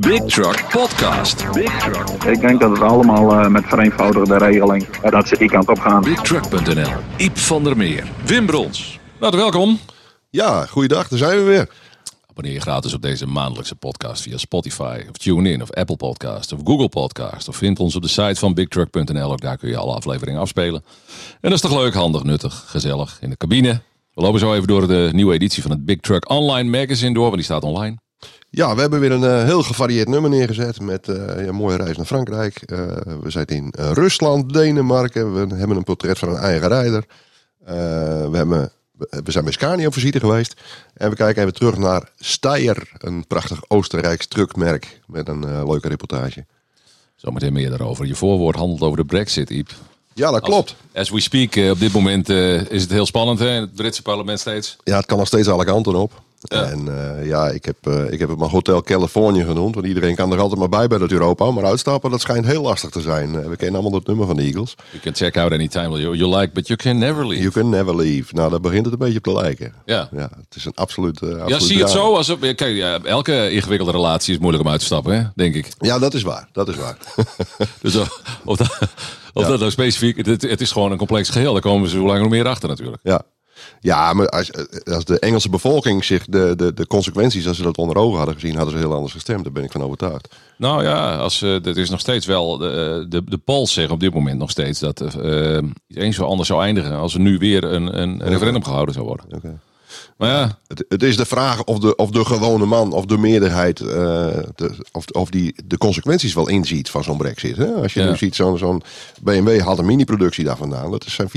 Big Truck Podcast. Big Truck. Ik denk dat het allemaal eh, met vereenvoudigde regeling eh, dat ze die kant op gaan. BigTruck.nl. Iep van der Meer. Wim Brons. Nou, welkom. Ja, goeiedag, daar zijn we weer. Abonneer je gratis op deze maandelijkse podcast via Spotify of TuneIn of Apple Podcast of Google Podcast. Of vind ons op de site van BigTruck.nl. Ook daar kun je alle afleveringen afspelen. En dat is toch leuk, handig, nuttig, gezellig in de cabine. We lopen zo even door de nieuwe editie van het Big Truck Online Magazine door, want die staat online. Ja, we hebben weer een eh, heel gevarieerd nummer neergezet met eh, ja, een mooie reis naar Frankrijk. Eh, we zijn in eh, Rusland, Denemarken. We hebben een portret van een eigen rijder. Eh, we, hebben, we- we zijn bij Scania op visite geweest. En we kijken even terug naar Steyr, een prachtig Oostenrijks truckmerk met een eh, leuke reportage. Zometeen meer daarover. Je voorwoord handelt over de Brexit, Iep. Ja, dat klopt. As we speak, eh, op dit moment eh, is het heel spannend hè, in het Britse parlement steeds. Ja, het kan nog steeds alle kanten op. Ja. En eh, ja, ik heb, eh, ik heb het maar Hotel California genoemd. Want iedereen kan er altijd maar bij bij dat Europa. Maar uitstappen, dat schijnt heel lastig te zijn. Eh, we kennen allemaal dat nummer van de Eagles. You can check out anytime you, you like, but you can never leave. You can never leave. Nou, daar begint het een beetje op te lijken. Ja. ja het is een absoluut... eh, ja, absoluut zie je het drama. zo? Als, op- ja, kijk, ja, elke ingewikkelde relatie is moeilijk om uit te stappen, hè, denk ik. Ja, dat is waar. Dat is waar. Dus of, of dat, of dat nou specifiek... Het, het is gewoon een complex geheel. Daar komen ze hoe langer hoe meer achter natuurlijk. Ja, ja maar als, eh, als de Engelse bevolking zich de, de, de consequenties, als ze dat onder ogen hadden gezien, hadden ze heel anders gestemd. Daar ben ik van overtuigd. Nou ja, als, eh dat is nog steeds wel... De, eh, de, de polls zeggen op dit moment nog steeds dat eh, eh, iets eens zo anders zou eindigen... als er nu weer een, een referendum gehouden zou worden. Oké. Maar ja, nou, Het, het is de vraag of de, of de gewone man of de meerderheid eh, de- of, of die de consequenties wel inziet van zo'n brexit. Hè? Als je Ja. nu ziet, zo'n zo'n BMW had een mini-productie daar vandaan. Dat zijn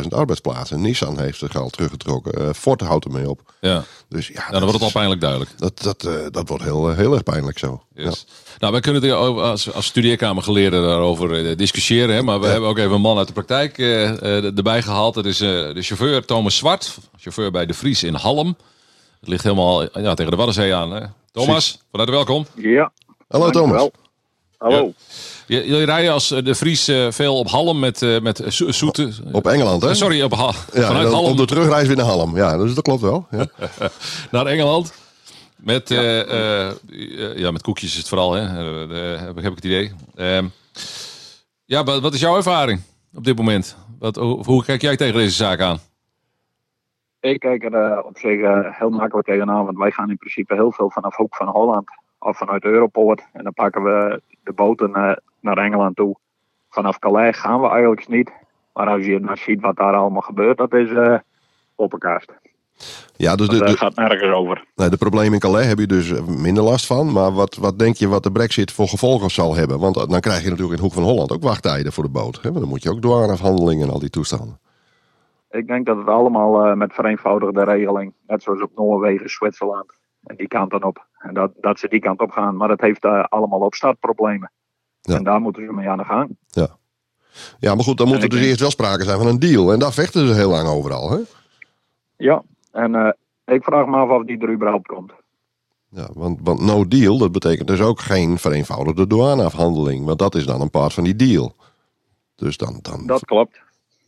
4.500 arbeidsplaatsen. Nissan heeft er geld teruggetrokken. Eh, Ford houdt ermee op. ja. Nou, Dus ja, dan wordt het al is- pijnlijk duidelijk. dat, dat, eh, dat wordt heel, eh, heel erg pijnlijk zo. Yes. Nou, wij kunnen het hier over- als, als studeerkamergeleerden daarover eh, discussiëren. Hè? Maar we hebben ook even een man uit de praktijk eh, eh, er- erbij gehaald. Dat is eh, de chauffeur Thomas Zwart. Chauffeur bij De Vries in Halm. Het ligt helemaal eh, ja, tegen de Waddenzee aan. Hè? Thomas, van harte welkom. Ja, Hallo Thomas. dankjewel. Hallo. Ja. J- Jullie rijden als eh, De Vries eh, veel op Halm met, eh, met zo- zoete... Op Engeland, hè? Eh, Sorry, op Ha- Ja, vanuit dan Halm op de terugreis weer naar Halm. Ja, dus dat klopt wel. Ja. naar Engeland. Met, ja. ja, met koekjes is het vooral, hè? Eh, eh, heb ik heb ik het idee. Ehm, ja, wat, wat is jouw ervaring op dit moment? Wat, hoe, hoe kijk jij tegen deze zaak aan? Ik kijk er eh, op zich eh, heel makkelijk tegenaan, want wij gaan in principe heel veel vanaf Hoek van Holland of vanuit Europoort. En dan pakken we de boten eh, naar Engeland toe. Vanaf Calais gaan we eigenlijk niet. Maar als je nou ziet wat daar allemaal gebeurt, dat is eh poppenkast. ja, dus de, Dat eh, de, gaat nergens over. nou, de problemen in Calais heb je dus eh, minder last van. Maar wat, wat denk je wat de brexit voor gevolgen zal hebben? Want eh, dan krijg je natuurlijk in Hoek van Holland ook wachttijden voor de boot. Hè? Want dan moet je ook douaneafhandelingen en al die toestanden. Ik denk dat het allemaal eh, met vereenvoudigde regeling, net zoals op Noorwegen, Zwitserland, en die kant dan op. En dat, dat ze die kant op gaan, maar dat heeft eh, allemaal opstartproblemen. Ja. En daar moeten ze mee aan de gang. Ja, maar goed, dan moet En er ik dus denk- eerst wel sprake zijn van een deal. En daar vechten ze heel lang overal. Hè? Ja, en eh, ik vraag me af of die er überhaupt komt. Ja, want, want no deal, dat betekent dus ook geen vereenvoudigde douaneafhandeling. Want dat is dan een part van die deal. Dus dan, dan, Dat klopt.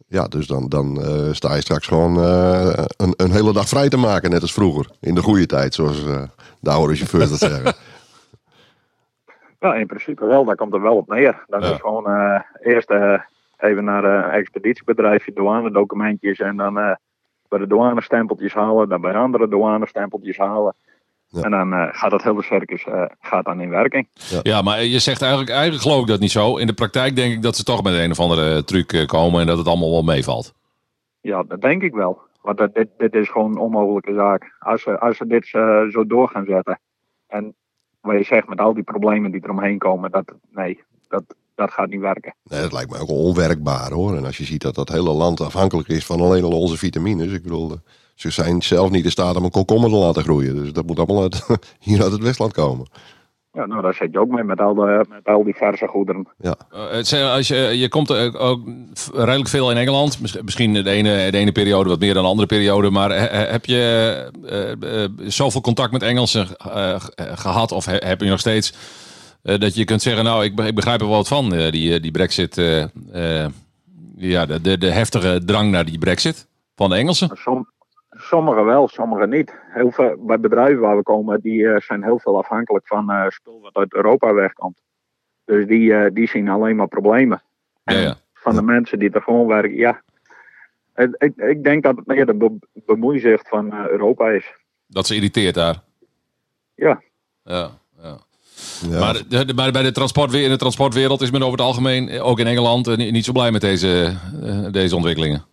Ja, dus dan, dan eh, sta je straks gewoon eh, een, een hele dag vrij te maken, net als vroeger. In de goede tijd, zoals eh de oude chauffeurs dat zeggen. Ja, in principe wel, daar komt er wel op neer. Dan Ja. is gewoon eh, eerst eh, even naar eh, een expeditiebedrijfje, douanedocumentjes en dan eh, bij de douanestempeltjes halen, dan bij andere douanestempeltjes halen. Ja. En dan eh, gaat dat hele circus eh, gaat dan in werking. Ja, maar je zegt eigenlijk, eigenlijk geloof ik dat niet zo. In de praktijk denk ik dat ze toch met een of andere truc eh, komen en dat het allemaal wel meevalt. Ja, dat denk ik wel. Want dat, dit, dit is gewoon een onmogelijke zaak. Als ze, als ze dit eh, zo door gaan zetten. En wat je zegt met al die problemen die eromheen komen. Dat, nee, dat, dat gaat niet werken. Nee, dat lijkt mij ook onwerkbaar hoor. En als je ziet dat dat hele land afhankelijk is van alleen al onze vitamines. Ik bedoel, eh, ze zijn zelf niet in staat om een komkommer te laten groeien. Dus dat moet allemaal uit, hier uit het Westland komen. Ja, nou, daar zit je ook mee met al, de, met al die verse goederen. Eh, het zijn- als je, je komt eh, ook v- redelijk veel in Engeland. Miss- Misschien de ene, de ene periode wat meer dan de andere periode. Maar he- he- heb je eh, eh, zoveel contact met Engelsen eh, ge- eh, gehad? Of he- heb je nog steeds eh, dat je kunt zeggen... nou, ik, be- ik begrijp er wel wat van, eh, die, eh, die brexit... eh, eh, ja, de, de, de heftige drang naar die brexit van de Engelsen. Som, Sommigen wel, sommigen niet. Heel veel, bij bedrijven waar we komen, die eh, zijn heel veel afhankelijk van eh, spul wat uit Europa wegkomt. Dus die, eh, die zien alleen maar problemen. Ja, ja. Van de mensen die er gewoon werken, ja. Het- Ik, ik denk dat het meer de be- bemoeizicht van eh, Europa is. Dat ze irriteert daar. Ja. Ja, ja. Ja. Maar, de- de- maar bij de transportwe- in de transportwereld is men over het algemeen, eh, ook in Engeland, eh, ni- niet zo blij met deze, eh, deze ontwikkelingen.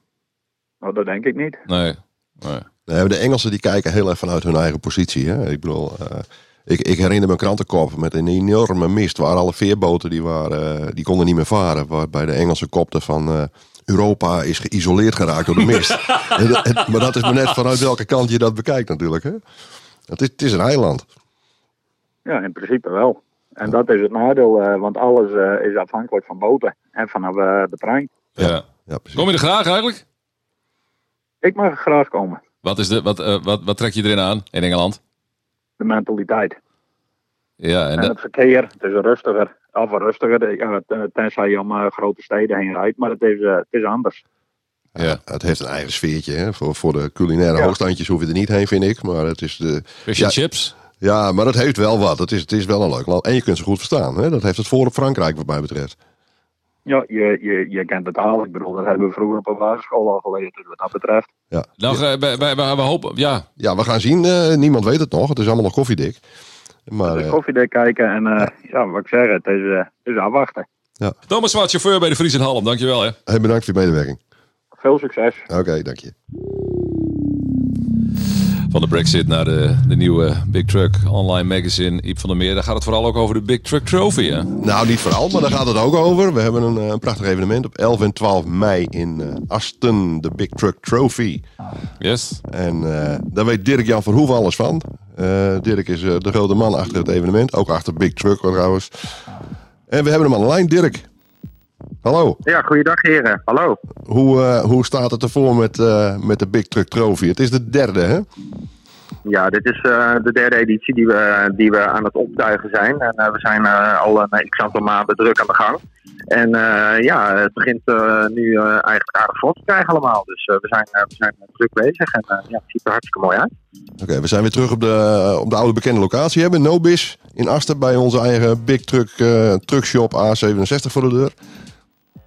Nou, dat denk ik niet. Nee. nee. Nee, maar de Engelsen die kijken heel erg vanuit hun eigen positie. Hè? Ik bedoel, eh, ik, ik herinner me een krantenkop met een enorme mist. Waar alle veerboten die waren, eh, die konden niet meer varen. Waarbij de Engelse kopte van eh, Europa is geïsoleerd geraakt door de mist. En dat- en- maar dat is maar net vanuit welke kant je dat bekijkt natuurlijk. Hè? Het, is, het is een eiland. Ja, in principe wel. En dat is het nadeel, eh, want alles eh, is afhankelijk van boten en vanaf eh, de trein. Ja. Ja, precies. Kom je er graag eigenlijk? Ik mag graag komen. Wat, is de, wat, eh, wat, wat trek je erin aan in Engeland? De mentaliteit. Ja, en En dat, het verkeer, het is rustiger. Of rustiger, eh, ja, ten- tenzij je om eh, grote steden heen rijdt. Maar het is, eh, het is anders. ja. Het heeft een eigen sfeertje. Hè? Voor, voor de culinaire Ja. hoogstandjes hoef je er niet heen, vind ik. Maar het is de, Fish Ja. and chips? ja, maar het heeft wel wat. Het is, het is wel een leuk land. En je kunt ze goed verstaan. Hè? Dat heeft het voor op Frankrijk wat mij betreft. Ja, je, je, je kent de taal. Ik bedoel, dat hebben we vroeger op een basisschool al geleerd. Dus wat dat betreft. Ja. Nou, eh, wij, wij, wij- we hopen, ja. Ja, we gaan zien. Eh, niemand weet het nog. Het is allemaal nog koffiedik. Maar, Dus eh, koffiedik kijken en eh, ja, wat ik zeg, het is, eh, het is afwachten. Thomas Zwart, chauffeur bij de Fries en Halm, dankjewel hè. hey, bedankt voor je medewerking. Veel succes. Oké, dank je. Van de Brexit naar de, de nieuwe eh, Big Truck online magazine, Iep van der Meer. Daar gaat het vooral ook over de Big Truck Trophy hè? Nou, niet vooral, maar daar gaat het ook over. We hebben een, eh, een prachtig evenement op 11 en 12 mei in eh, Aston, de Big Truck Trophy. Yes. En eh, daar weet Dirk-Jan Verhoeven alles van. Eh, Dirk is eh, de grote man achter het evenement. Ook achter Big Truck trouwens. En we hebben hem aan de lijn, Dirk. Hallo, Ja, goeiedag heren. Hallo. hoe, eh, hoe staat het ervoor met, eh, met de Big Truck Trophy? Het is de derde, hè? Ja, dit is eh, de derde editie die we, die we aan het optuigen zijn. En eh, we zijn eh, al een x aantal maanden druk aan de gang. En eh, ja, het begint eh, nu eh, eigenlijk aardig vlot te krijgen allemaal. Dus eh, we, zijn, eh, we zijn druk bezig en eh, ja, het ziet er hartstikke mooi uit. Oké, we zijn weer terug op de, eh, op de oude bekende locatie. Hebben Nobis in Asten bij onze eigen Big Truck eh, Truckshop A67 voor de deur.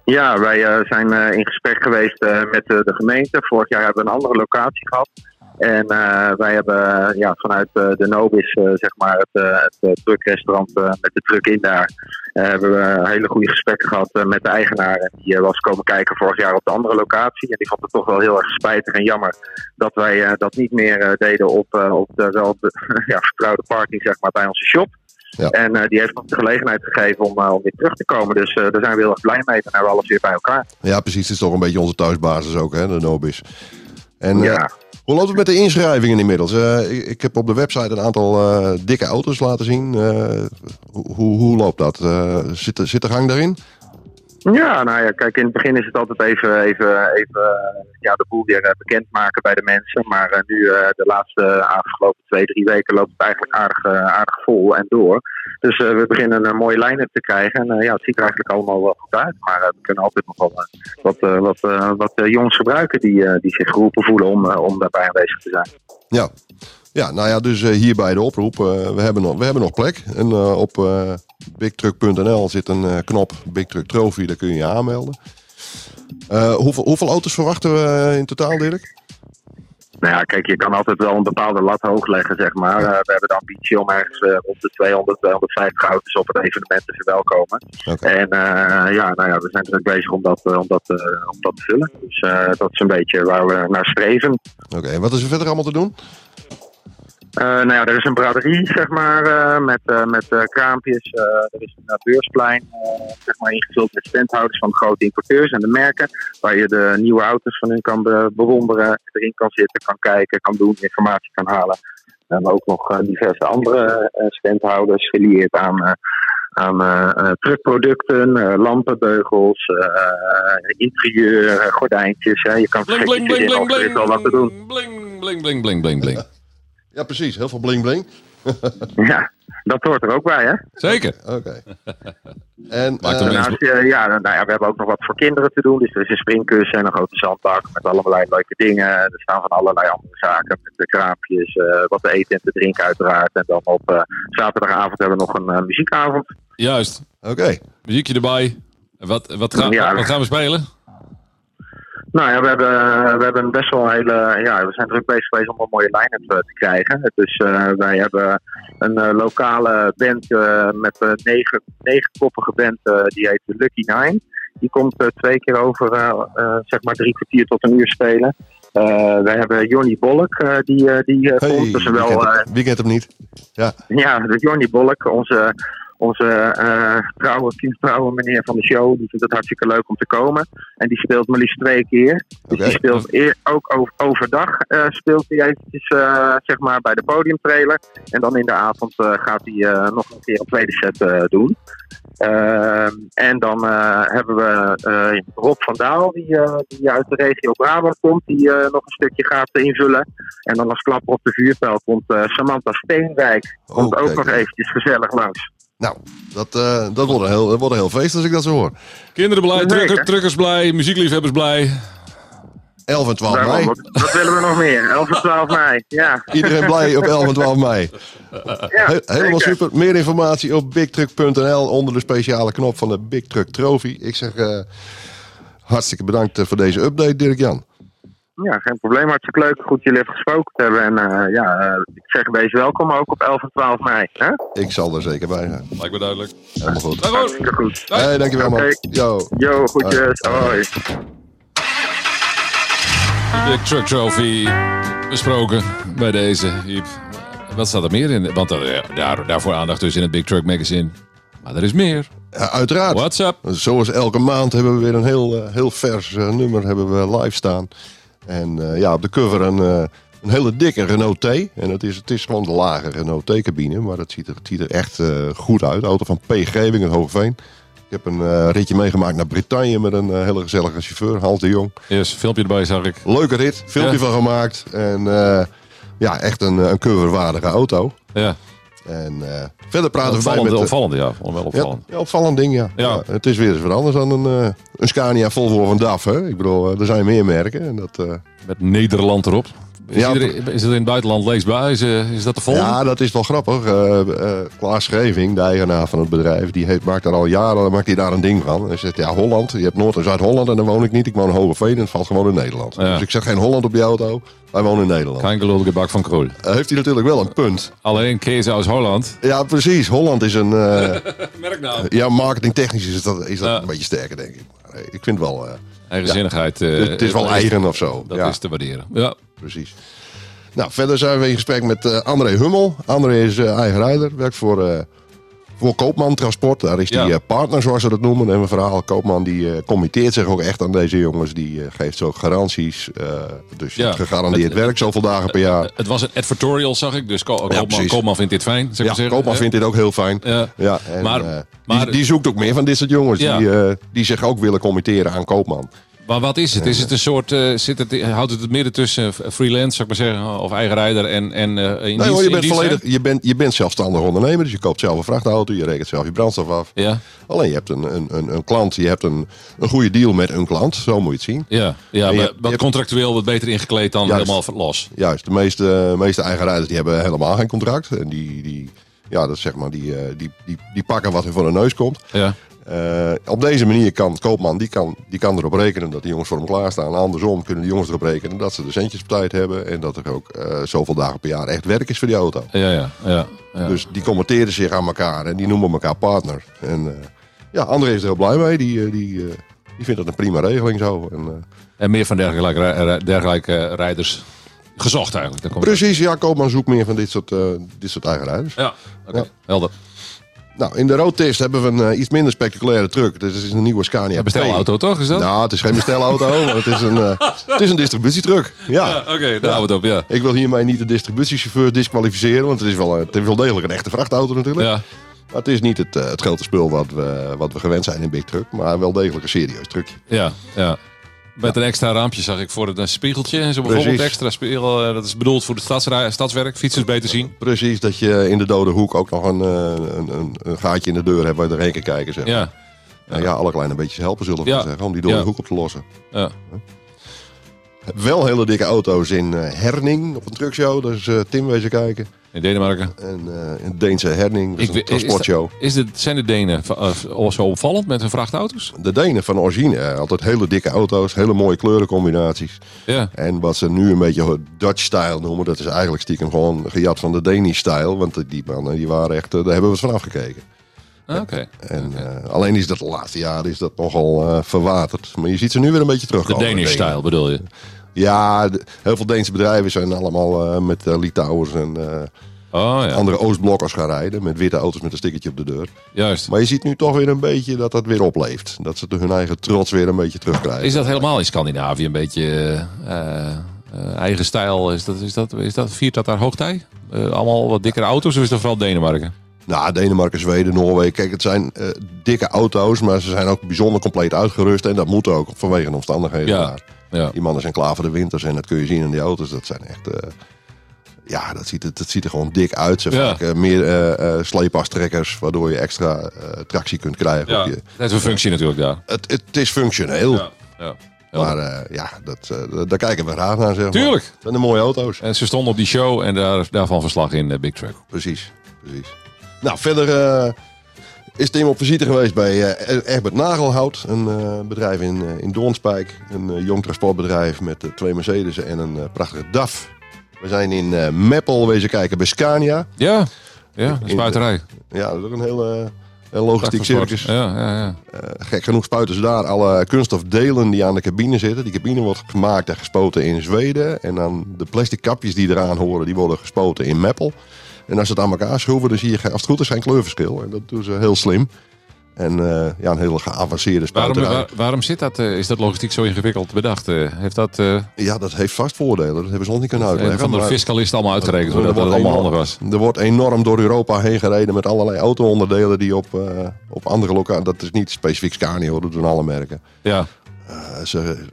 Ja, wij eh, zijn eh, in gesprek geweest eh, met eh, de gemeente. Vorig jaar hebben we een andere locatie gehad. En eh, wij hebben eh, ja, vanuit eh, de Nobis, eh, zeg maar, het, eh, het eh, truckrestaurant eh, met de truck in daar, eh, hebben we eh, hele goede gesprekken gehad eh, met de eigenaar. En Die eh, was komen kijken vorig jaar op de andere locatie. En die vond het toch wel heel erg spijtig en jammer dat wij eh, dat niet meer eh, deden op, eh, op de, wel op de ja, vertrouwde parking, zeg maar, bij onze shop. Ja. En eh, die heeft ons de gelegenheid gegeven om, eh, om weer terug te komen. Dus eh, daar zijn we heel erg blij mee. En hebben we alles weer bij elkaar. Ja, precies. Het is toch een beetje onze thuisbasis ook, hè, de Nobis. En eh, Ja. hoe loopt het met de inschrijvingen inmiddels? Eh, ik, ik heb op de website een aantal eh, dikke auto's laten zien. Eh, hoe, hoe- hoe loopt dat? Eh, zit, de- zit de gang daarin? Ja, nou ja, kijk, in het begin is het altijd even, even, even eh, ja, de boel weer eh, bekendmaken bij de mensen. Maar eh, nu, eh, de laatste eh, afgelopen twee, drie weken, loopt het eigenlijk aardig, eh, aardig vol en door. Dus eh, we beginnen een mooie lijn te krijgen. En eh, ja, het ziet er eigenlijk allemaal wel goed uit. Maar eh, we kunnen altijd nog wel eh, wat, eh, wat, eh, wat eh, jongens gebruiken die, eh, die zich geroepen voelen om, eh, om daarbij aanwezig te zijn. Ja. Ja, nou ja, dus eh, hierbij de oproep. Eh, we, hebben nog, we hebben nog plek. En eh, op eh, bigtruck.nl zit een eh, knop Big Truck Trophy. Daar kun je je aanmelden. Eh, hoeveel, hoeveel auto's verwachten we eh, in totaal, Dirk? Nou ja, kijk, je kan altijd wel een bepaalde lat hoog leggen, zeg maar. Eh, we hebben de ambitie om ergens eh, rond de 200, 250 auto's op het evenement te verwelkomen. Oké. En eh, ja, nou ja, we zijn druk bezig om dat, eh, om dat, eh, om dat te vullen. Dus eh, dat is een beetje waar we naar streven. Oké, en wat is er verder allemaal te doen? Eh, nou ja, er is een braderie, zeg maar, eh, met, eh, met eh, kraampjes. Eh, er is een eh, beursplein, eh, zeg maar, ingevuld met standhouders van de grote importeurs en de merken. Waar je de nieuwe auto's van hun kan be- bewonderen, erin kan zitten, kan kijken, kan doen, informatie kan halen. Eh, maar ook nog eh, diverse andere eh, standhouders gelieerd aan, eh, aan eh, eh, truckproducten, eh, lampenbeugels, eh, eh, interieur, eh, gordijntjes. hè. Je kan Bling, verschrikkelijk bling, bling, in bling, er is bling. wel wat te doen. Bling, bling, bling, bling, bling, bling. Ja, precies. Heel veel bling bling. ja, dat hoort er ook bij, hè? Zeker. Oké. En Maakt eh, hem En als je, ja, dan- nou ja, we hebben ook nog wat voor kinderen te doen. Dus er is een springkussen en een grote zandbak met allerlei leuke dingen. Er staan van allerlei andere zaken. Met de kraampjes, eh, wat te eten en te drinken uiteraard. En dan op eh, zaterdagavond hebben we nog een eh, muziekavond. Juist. oké. Muziekje erbij. Wat, wat, gaan- Ja. wat gaan we spelen? Nou ja, we hebben, we hebben een best wel een hele. Ja, we zijn druk bezig geweest om een mooie line-up eh, te krijgen. Dus eh, wij hebben een eh, lokale band eh, met een negen, negenkoppige band, eh, die heet de Lucky Nine. Die komt eh, twee keer over, eh, eh, zeg maar, drie kwartier tot een uur spelen. Eh we hebben Johnny Bolk, eh, die, eh, die eh, Hey, komt. Dus wie, wel, kent eh, hem, wie kent hem niet? ja, de Johnny Bolk, onze, onze eh, trouwe, kindtrouwe meneer van de show, die vindt het hartstikke leuk om te komen. En die speelt maar liefst twee keer. Dus Oké. die speelt eer, ook over, overdag eh, speelt hij eventjes eh, zeg maar bij de podiumtrailer. En dan in de avond eh, gaat hij eh, nog een keer een tweede set eh, doen. Ehm, en dan eh, hebben we eh, Rob van Daal, die, eh, die uit de regio Brabant komt, die eh, nog een stukje gaat eh, invullen. En dan als klapper op de vuurpijl komt eh, Samantha Steenwijk komt Oh, ook kijk. nog eventjes gezellig langs. Nou, dat, eh, dat wordt een heel, dat wordt een heel feest als ik dat zo hoor. Kinderen blij, Zeker. drukker- truckers blij, muziekliefhebbers blij. 11 en 12 Daarom, mei. wat, wat willen we nog meer? 11 en 12 mei. Ja, Iedereen blij op 11 en 12 mei. ja Eh, He- helemaal zeker. super. Meer informatie op bigtruck.nl onder de speciale knop van de Big Truck Trophy. Ik zeg eh, hartstikke bedankt eh, voor deze update, Dirk-Jan. Ja, geen probleem. Hartstikke leuk. Goed jullie even gesproken te hebben. En eh, ja, eh, ik zeg een beetje welkom ook op 11 en 12 mei. Hè? Ik zal er zeker bij zijn. Lijkt me duidelijk. Helemaal goed. Dag hoor. Hartstikke goed. Hoi. Hey, dankjewel man. Oké. Yo. Yo, goedjes. Hoi. De Truck Trophy besproken bij deze. Iep. Wat staat er meer in? Want eh, daar, daarvoor aandacht dus in het Big Truck Magazine. Maar er is meer. Ja, uiteraard. WhatsApp. Zoals elke maand hebben we weer een heel, eh, heel vers eh, nummer hebben we live staan. En eh, ja, op de cover een, eh, een hele dikke Renault T. En het is, het is gewoon de lage Renault T-cabine. Maar dat ziet er, het ziet er echt eh, goed uit. De auto van P. Geving in Hoogveen. Ik heb een eh, ritje meegemaakt naar Brittannië met een eh, hele gezellige chauffeur, Hans de Jong. Eerst een filmpje erbij zag ik. Leuke rit, filmpje Ja. van gemaakt. En eh, ja, echt een, eh, een coverwaardige auto. Ja, En eh, verder praten we bij opvallend, met... eh, opvallend ja. Wel ja, opvallend. ja, opvallend ding, ja. Ja. Ja, Het is weer eens wat anders dan een, eh, een Scania Volvo van DAF. Hè? Ik bedoel, eh, er zijn meer merken. En dat, eh, Met Nederland erop. Is, Ja, iedereen- is het in het buitenland leesbaar? Is, eh, is dat de volgende? ja, dat is wel grappig. Eh, eh, Klaas Scheving, de eigenaar van het bedrijf, die heeft, maakt daar al jaren maakt hij daar een ding van. Hij zegt, ja, Holland. Je hebt Noord- en Zuid-Holland en daar woon ik niet. Ik woon in Hogeveen en het valt gewoon in Nederland. Ja. Dus ik zeg geen Holland op die auto. Wij wonen in Nederland. Geen gelullige bak van kool. Eh, heeft hij natuurlijk wel een punt. Alleen Kees uit Holland. Ja, precies. Holland is een... eh, Merk nou. ja, marketingtechnisch is dat, is dat Ja. een beetje sterker, denk ik. Maar, eh, ik vind wel... eh, Eigenzinnigheid. eh, het is wel dat eigen of zo. Dat ja. is te waarderen. Ja. precies. Nou, verder zijn we in gesprek met eh, André Hummel. André is eh, eigen rijder, werkt voor, eh, voor Koopman Transport. Daar is hij Ja. eh, partner, zoals ze dat noemen. En we verhaal, Koopman die eh, committeert zich ook echt aan deze jongens. Die eh, geeft zo garanties. eh, dus je Ja. hebt gegarandeerd werk zoveel dagen per jaar. Het was een advertorial, zag ik. Dus Ko- Koopman, precies. Koopman vindt dit fijn, zou ik Ja, maar zeggen. Koopman Eh, vindt dit ook heel fijn. Ja. Ja, en, Maar- eh, die- maar- die, zoekt ook meer van dit soort jongens. Ja. Die, eh, die zich ook willen committeren aan Koopman. Maar wat is het? Is het een soort, eh, zit het, houdt het het midden tussen eh, freelance, zou ik maar zeggen, of eigen rijder en, en eh, in Nee, hoor, dienst- je, in bent dienst, volledig, je, bent, je bent zelfstandig ondernemer. Dus je koopt zelf een vrachtauto. Je rekent zelf je brandstof af. hè? Ja, Alleen je hebt een, een, een, een klant, je hebt een, een goede deal met een klant, zo moet je het zien. ja, ja je maar hebt- je wat hebt- contractueel, wat beter ingekleed dan Juist. helemaal los. Juist, de meeste, meeste eigen rijders die hebben helemaal geen contract. En die, die, ja, dat is zeg maar, die, eh, die, die, die pakken wat er voor hun neus komt. Ja, Eh, op deze manier kan Koopman die kan, die kan erop rekenen dat die jongens voor hem klaarstaan. Andersom kunnen de jongens erop rekenen dat ze de centjes op tijd hebben. En dat er ook eh, zoveel dagen per jaar echt werk is voor die auto. ja, ja. ja, ja. Dus die commenteren zich aan elkaar en die noemen elkaar partner. En eh, ja, André is er heel blij mee. Die, eh, die, eh, die vindt dat een prima regeling zo. En, eh, En meer van dergelijke, ri- ri- dergelijke rijders gezocht eigenlijk. Daar komt het. Precies, ja, Koopman zoekt meer van dit soort, eh, dit soort eigenaars. Ja, oké, Ja. helder. Nou, in de roadtest hebben we een eh, iets minder spectaculaire truck. Dit is een nieuwe Scania. Een bestelauto toch, is dat? Nou, het is geen bestelauto, maar het is een, eh, het is een distributietruck. Ja, Ja. oké, daar houden we het op, ja. Ik wil hiermee niet de distributiechauffeur disqualificeren, want het is wel, eh, het is wel degelijk een echte vrachtauto natuurlijk. Ja, Maar het is niet het, eh, het grote spul wat we, wat we gewend zijn in Big Truck, maar wel degelijk een serieus truckje. ja, ja. Met een extra raampje zag ik voor het een spiegeltje. En zo bijvoorbeeld Precies. extra spiegel. eh, Dat is bedoeld voor het stadsra- stadswerk. Fietsers beter zien. Precies, dat je in de dode hoek ook nog een, eh, een, een, een gaatje in de deur hebt waar je doorheen kan kijken. Zeg. Ja. Nou ja, alle kleine beetjes helpen zullen we Ja. maar zeggen, om die dode Ja. hoek op te lossen. ja. Wel hele dikke auto's in eh, Herning op een truckshow. Daar is eh, Tim wezen kijken. In Denemarken. En eh, een Deense Herning, dat is Ik een weet- is transportshow. Is dit, zijn de Denen va- eh, of zo opvallend met hun vrachtauto's? De Denen van origine, eh, altijd hele dikke auto's, hele mooie kleurencombinaties. Ja. En wat ze nu een beetje Dutch-style noemen, dat is eigenlijk stiekem gewoon gejat van de Danish-style. Want die mannen, die waren echt, eh, daar hebben we wat van afgekeken. Ah, Oké. En, eh, alleen is dat de laatste jaren is dat nogal eh, verwaterd. Maar je ziet ze nu weer een beetje De terugkomen. Danish Denen. style bedoel je? Ja, de- heel veel Deense bedrijven zijn allemaal eh, met eh, Litouwers en eh, Oh ja, andere Oostblokkers gaan rijden. Met witte auto's met een stickertje op de deur. juist. Maar je ziet nu toch weer een beetje dat dat weer opleeft. Dat ze de- hun eigen trots weer een beetje terugkrijgen. Is dat helemaal in Scandinavië een beetje eh, eh, eigen stijl? Is dat, is dat, is dat, viert dat daar hoogtij? Eh, allemaal wat dikkere auto's of is dat vooral Denemarken? Nou, Denemarken, Zweden, Noorwegen. Kijk, het zijn eh, dikke auto's, maar ze zijn ook bijzonder compleet uitgerust. En dat moet ook vanwege de omstandigheden Ja. daar. Ja. Die mannen zijn klaar voor de winters en dat kun je zien in die auto's. Dat zijn echt... eh, ja, dat ziet, het, dat ziet er gewoon dik uit. Ze Ja. vaak eh, meer eh eh, sleepastrekkers, waardoor je extra eh, tractie kunt krijgen. Ja, op dat je- is een functie natuurlijk daar. Het, het is functioneel, Ja. Ja. maar eh, ja, dat, eh, daar kijken we graag naar. Zeg maar. Tuurlijk. Het zijn de mooie auto's. En ze stonden op die show en daar, daarvan verslag in eh, Big Truck. precies. precies. Nou, verder eh, is Tim op visite geweest bij eh, Egbert Nagelhout. Een eh, bedrijf in, eh, in Doornspijk. Een eh, jong transportbedrijf met eh, twee Mercedes en een eh, prachtige DAF. We zijn in eh, Meppel wezen kijken bij Scania. Ja, ja dat is buitenrij. Ja, dat is ook een hele eh, een logistiek Tractorsport. circus. Ja, ja, ja. Eh, gek genoeg spuiten ze daar alle kunststofdelen die aan de cabine zitten. Die cabine wordt gemaakt en gespoten in Zweden. En dan de plastic kapjes die eraan horen, die worden gespoten in Meppel. En als ze het aan elkaar schroeven, dan zie je ge- als het goed is geen kleurverschil. En dat doen ze heel slim. En eh, ja, een hele geavanceerde Waarom, spuiterij. waar- waarom zit dat, eh, is dat logistiek zo ingewikkeld bedacht? eh? heeft dat eh, Ja, dat heeft vast voordelen. Dat hebben ze ons niet kunnen een uitleggen. van de maar- fiscalisten allemaal uitgerekend? Er Zodat dat wordt het allemaal enorm- handig was. Er wordt enorm door Europa heen gereden met allerlei auto-onderdelen die op, eh, op andere locaties... Dat is niet specifiek Scania, hoor, dat doen alle merken. Ja, Eh, ze-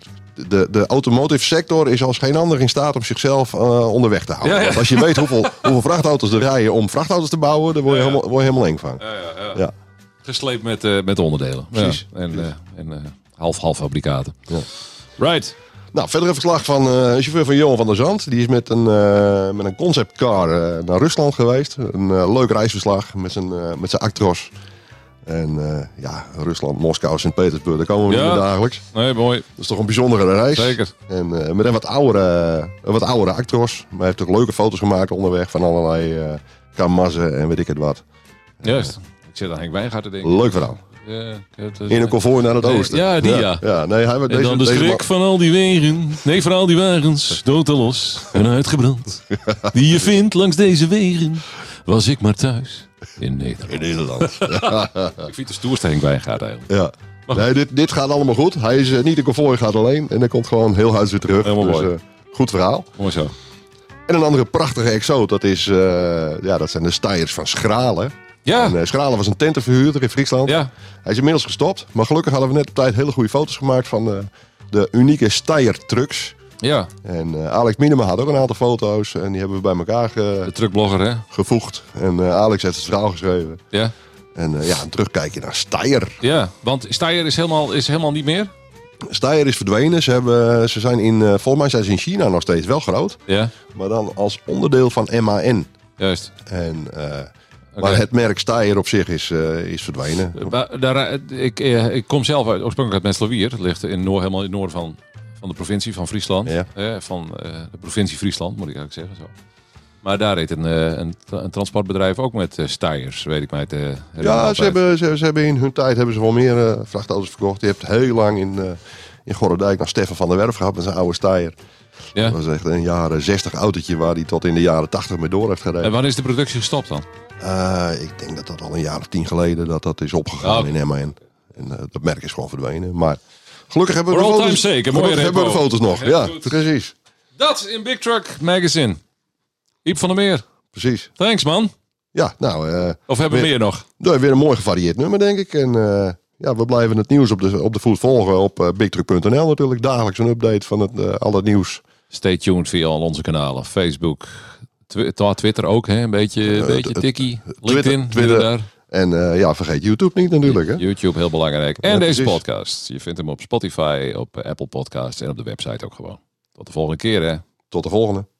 de, de automotive sector is als geen ander in staat om zichzelf eh, onderweg te houden. Ja, ja. Want als je weet hoeveel, hoeveel vrachtauto's er rijden om vrachtauto's te bouwen, dan word je, Ja, ja. helemaal, word je helemaal eng van. Ja. gesleept met, eh, met onderdelen. Precies. Ja. En, eh, en eh, half-half fabrikaten. Ja. Right. Nou, verder een verslag van eh, een chauffeur van Johan van der Zand. Die is met een, eh, met een conceptcar eh, naar Rusland geweest. Een eh, leuk reisverslag met zijn, eh, met zijn Actros. En eh, ja, Rusland, Moskou, Sint-Petersburg, daar komen we Ja. niet meer dagelijks. Nee, mooi. Dat is toch een bijzondere reis. Zeker. En eh, met een wat oudere, een wat oudere actors. Maar hij heeft ook leuke foto's gemaakt onderweg van allerlei eh kamazzen en weet ik het wat. Juist. Ik zit aan Henk Wijngaard te denken. Leuk verhaal. Ja, ik heb het- In een konvooi naar het Nee, oosten. ja, die ja. nee, hij, En deze, dan de deze schrik man- van al die wegen. Nee, van al die wagens. Dood en los en uitgebrand. Die je vindt langs deze wegen. Was ik maar thuis in Nederland. In Nederland. Ik vind de stoerste Henk Wijngaard eigenlijk. ja. Maar- Nee, dit, dit gaat allemaal goed. Hij is eh, niet in konvooi, gaat alleen. En hij komt gewoon heel huis weer terug. Helemaal dus, mooi. eh, goed verhaal. Mooi zo. En een andere prachtige exoot, dat, is, eh, ja, dat zijn de Steyers van Schralen. En, Ja, eh, Schralen was een tentenverhuurder in Friesland. ja. Hij is inmiddels gestopt, maar gelukkig hadden we net op tijd hele goede foto's gemaakt van de, de unieke Steyr trucks. Ja, En eh, Alex Minema had ook een aantal foto's en die hebben we bij elkaar ge- de truckblogger hè. gevoegd. En eh, Alex heeft het verhaal geschreven. Ja, En eh, ja, een terugkijkje naar Steyr. ja. want Steyer is helemaal, is helemaal niet meer. Steyr is verdwenen. Ze, hebben, ze zijn in, eh, volgens mij zijn ze in China nog steeds wel groot, Ja, maar dan als onderdeel van MAN. juist. En, eh, Oké. Maar het merk Steyr op zich is, eh, is verdwenen. Wa- daar, eh, ik, eh, ik kom zelf uit, oorspronkelijk uit Menslowier. Dat ligt in noor, helemaal in het noorden van, van de provincie van Friesland. Ja. Eh, van eh, de provincie Friesland, moet ik eigenlijk zeggen. Zo. Maar daar reed een, eh, een, tra- een transportbedrijf ook met eh stijers, weet ik mij te herinneren Ja, altijd. ze hebben, ze, ze hebben in hun tijd hebben ze wel meer eh, vrachtauto's verkocht. Je hebt heel lang in, eh in Gorredijk nog Stefan van der Werf gehad met zijn oude steier. Ja. Dat was echt een jaren 60 autootje waar hij tot in de jaren 80 mee door heeft gereden. En wanneer is de productie gestopt dan? Eh, ik denk dat dat al een jaar of tien geleden dat dat is opgegaan Oh. in MAN. En eh, dat merk is gewoon verdwenen. Maar gelukkig hebben we For de all foto's, time's sake, een mooie gelukkig hebben we de repo. foto's nog. Heel Ja, goed. precies. Dat in Big Truck Magazine. Iep van der Meer, Precies. thanks man. Ja, nou, eh, Of hebben we Weer- meer nog? nou, weer een mooi gevarieerd nummer denk ik. En eh, ja, we blijven het nieuws op de, op de voet volgen op eh, bigtruck.nl natuurlijk. Dagelijks een update van het, eh, al het nieuws. Stay tuned via al onze kanalen. Facebook, Twi- Twa- Twitter ook. Hè? Een beetje, een beetje Eh, het- tikkie. Twitter- LinkedIn, Twitter. Twitter, daar. En eh, ja, vergeet YouTube niet natuurlijk. Hè? YouTube, heel belangrijk. En Ja, deze precies. podcast. Je vindt hem op Spotify, op eh, Apple Podcasts en op de website ook gewoon. Tot de volgende keer hè. Tot de volgende.